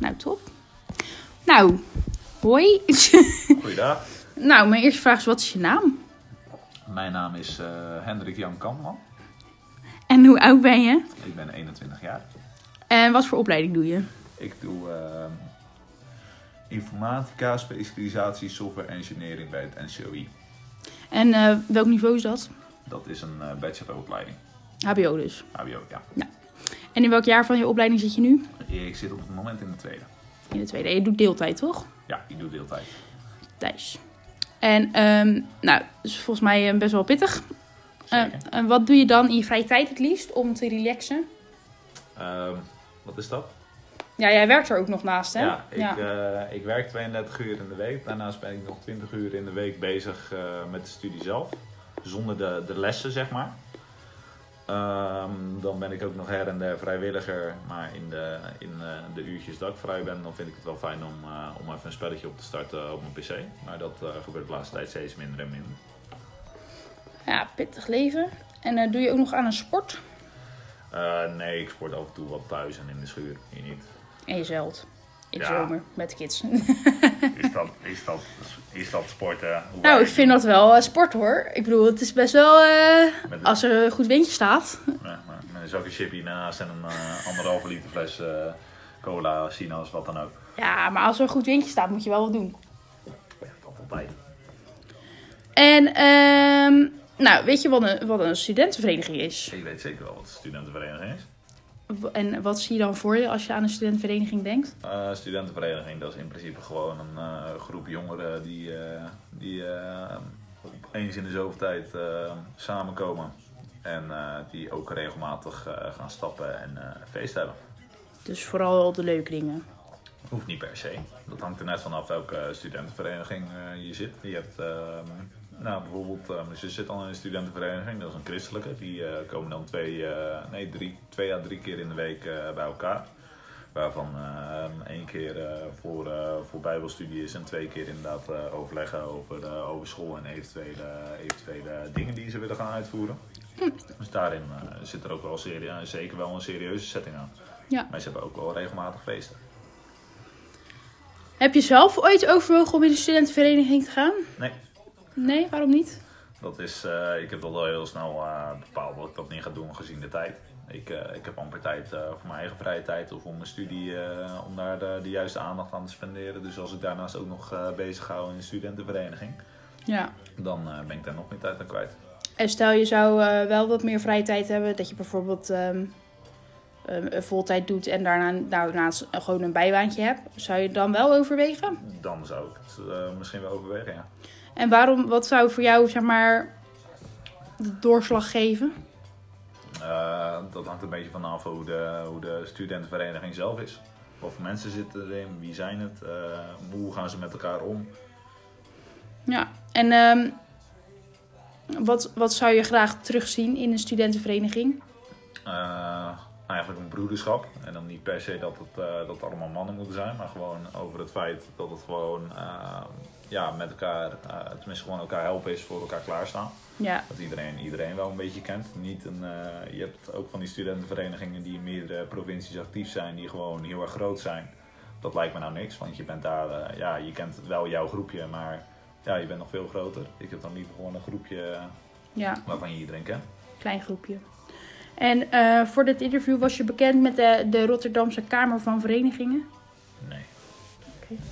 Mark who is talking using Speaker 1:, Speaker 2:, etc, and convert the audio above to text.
Speaker 1: Nou, top. Nou, hoi.
Speaker 2: Goeiedag.
Speaker 1: nou, mijn eerste vraag is, wat is je naam?
Speaker 2: Mijn naam is eh, Hendrik Jan Kampman.
Speaker 1: En hoe oud ben je?
Speaker 2: Ik ben 21 jaar.
Speaker 1: En wat voor opleiding doe je?
Speaker 2: Ik doe ehm, informatica, specialisatie, software engineering bij het NCOI.
Speaker 1: En eh, welk niveau is dat?
Speaker 2: Dat is een eh, bacheloropleiding.
Speaker 1: HBO dus.
Speaker 2: HBO, ja.
Speaker 1: En in welk jaar van je opleiding zit je nu?
Speaker 2: Ik zit op het moment in de tweede.
Speaker 1: In de tweede. Je doet deeltijd, toch?
Speaker 2: Ja, ik doe deeltijd.
Speaker 1: Thijs. En ehm, nou, dat is volgens mij eh, best wel pittig.
Speaker 2: Zeker.
Speaker 1: Eh, en wat doe je dan in je vrije tijd het liefst om te relaxen?
Speaker 2: Ehm, wat is dat?
Speaker 1: Ja, jij werkt er ook nog naast, hè?
Speaker 2: Ja, ik, eh, ik werk 32 uur in de week. Daarnaast ben ik nog 20 uur in de week bezig eh, met de studie zelf. Zonder de, de lessen, zeg maar. Ehm, dan ben ik ook nog her en der vrijwilliger. Maar in de, in, eh, de uurtjes dat ik vrij ben, dan vind ik het wel fijn om, eh, om even een spelletje op te starten op mijn pc. Maar dat eh, gebeurt de laatste tijd steeds minder en minder.
Speaker 1: Ja, pittig leven. En eh, doe je ook nog aan een sport?
Speaker 2: Eh, nee, ik sport af en toe wat thuis en in de schuur. Hier niet.
Speaker 1: En je zeilt. In de
Speaker 2: Ja.
Speaker 1: zomer, met kids.
Speaker 2: Is dat, is dat, is dat sporten? Hoe
Speaker 1: nou, ik
Speaker 2: wij-
Speaker 1: vind dat wel eh, sport, hoor. Ik bedoel, het is best wel... eh,
Speaker 2: Met-
Speaker 1: als er een goed windje staat.
Speaker 2: Ja, maar met een zakje chip hiernaast en een eh, anderhalve liter fles eh, cola, sinaas, wat dan ook.
Speaker 1: Ja, maar als er een goed windje staat, moet je wel wat doen.
Speaker 2: Ja, dat altijd.
Speaker 1: En, ehm, nou, weet je wat een, wat een studentenvereniging is?
Speaker 2: Ik weet zeker wel wat de studentenvereniging is.
Speaker 1: W- En wat zie je dan voor je als je aan een studentenvereniging denkt?
Speaker 2: Eh, studentenvereniging, dat is in principe gewoon een eh, groep jongeren die, eh, die eh, eens in de zoveel tijd eh, samenkomen. En eh, die ook regelmatig eh, gaan stappen en eh, feest hebben.
Speaker 1: Dus vooral de leuke dingen.
Speaker 2: Hoeft niet per se. Dat hangt er net vanaf welke studentenvereniging eh, je zit. Je hebt, ehm, nou bijvoorbeeld, eh, mijn zus zit al in een studentenvereniging, dat is een christelijke. Die eh, komen dan twee, eh, nee, drie, twee à drie keer in de week eh, bij elkaar. Waarvan ehm, één keer eh, voor, eh, voor bijbelstudie is en twee keer inderdaad eh, overleggen over, eh, over school en eventuele, eventuele dingen die ze willen gaan uitvoeren. Dus daarin eh, zit er ook wel serie, zeker wel een serieuze setting aan.
Speaker 1: Ja.
Speaker 2: Maar ze hebben ook wel regelmatig feesten.
Speaker 1: Heb je zelf ooit overwogen om in de studentenvereniging te gaan?
Speaker 2: Nee,
Speaker 1: Nee, waarom niet?
Speaker 2: Dat is, eh, ik heb dat al heel snel eh, bepaald dat ik dat niet ga doen gezien de tijd. Ik, eh, ik heb amper tijd eh, voor mijn eigen vrije tijd of om mijn studie, eh, om daar de, de juiste aandacht aan te spenderen. Dus als ik daarnaast ook nog eh, bezig hou in de studentenvereniging,
Speaker 1: Ja.
Speaker 2: dan eh, ben ik daar nog meer tijd aan kwijt.
Speaker 1: En stel je zou eh, wel wat meer vrije tijd hebben, dat je bijvoorbeeld ehm ehm, een voltijd doet en daarna, daarnaast gewoon een bijbaantje hebt, zou je het dan wel overwegen?
Speaker 2: Dan zou ik het eh, misschien wel overwegen, ja.
Speaker 1: En waarom, wat zou voor jou zeg maar de doorslag geven?
Speaker 2: Eh, dat hangt een beetje vanaf hoe de, hoe de studentenvereniging zelf is. Wat voor mensen zitten erin, wie zijn het, eh, hoe gaan ze met elkaar om.
Speaker 1: Ja. En ehm, wat, wat zou je graag terugzien in een studentenvereniging?
Speaker 2: eh, eigenlijk een broederschap. En dan niet per se dat het, eh, dat het allemaal mannen moeten zijn, maar gewoon over het feit dat het gewoon eh, ja, met elkaar, eh, tenminste gewoon elkaar helpen is voor elkaar klaarstaan.
Speaker 1: Ja.
Speaker 2: Dat iedereen iedereen wel een beetje kent. Niet een, eh, je hebt ook van die studentenverenigingen die in meerdere provincies actief zijn, die gewoon heel erg groot zijn. Dat lijkt me nou niks, want je bent daar, eh, ja, je kent wel jouw groepje, maar ja, je bent nog veel groter. Ik heb dan liever gewoon een groepje eh,
Speaker 1: Ja.
Speaker 2: waarvan je iedereen kent.
Speaker 1: Klein groepje. En eh, voor dit interview was je bekend met de, de Rotterdamse Kamer van Verenigingen.
Speaker 2: Nee.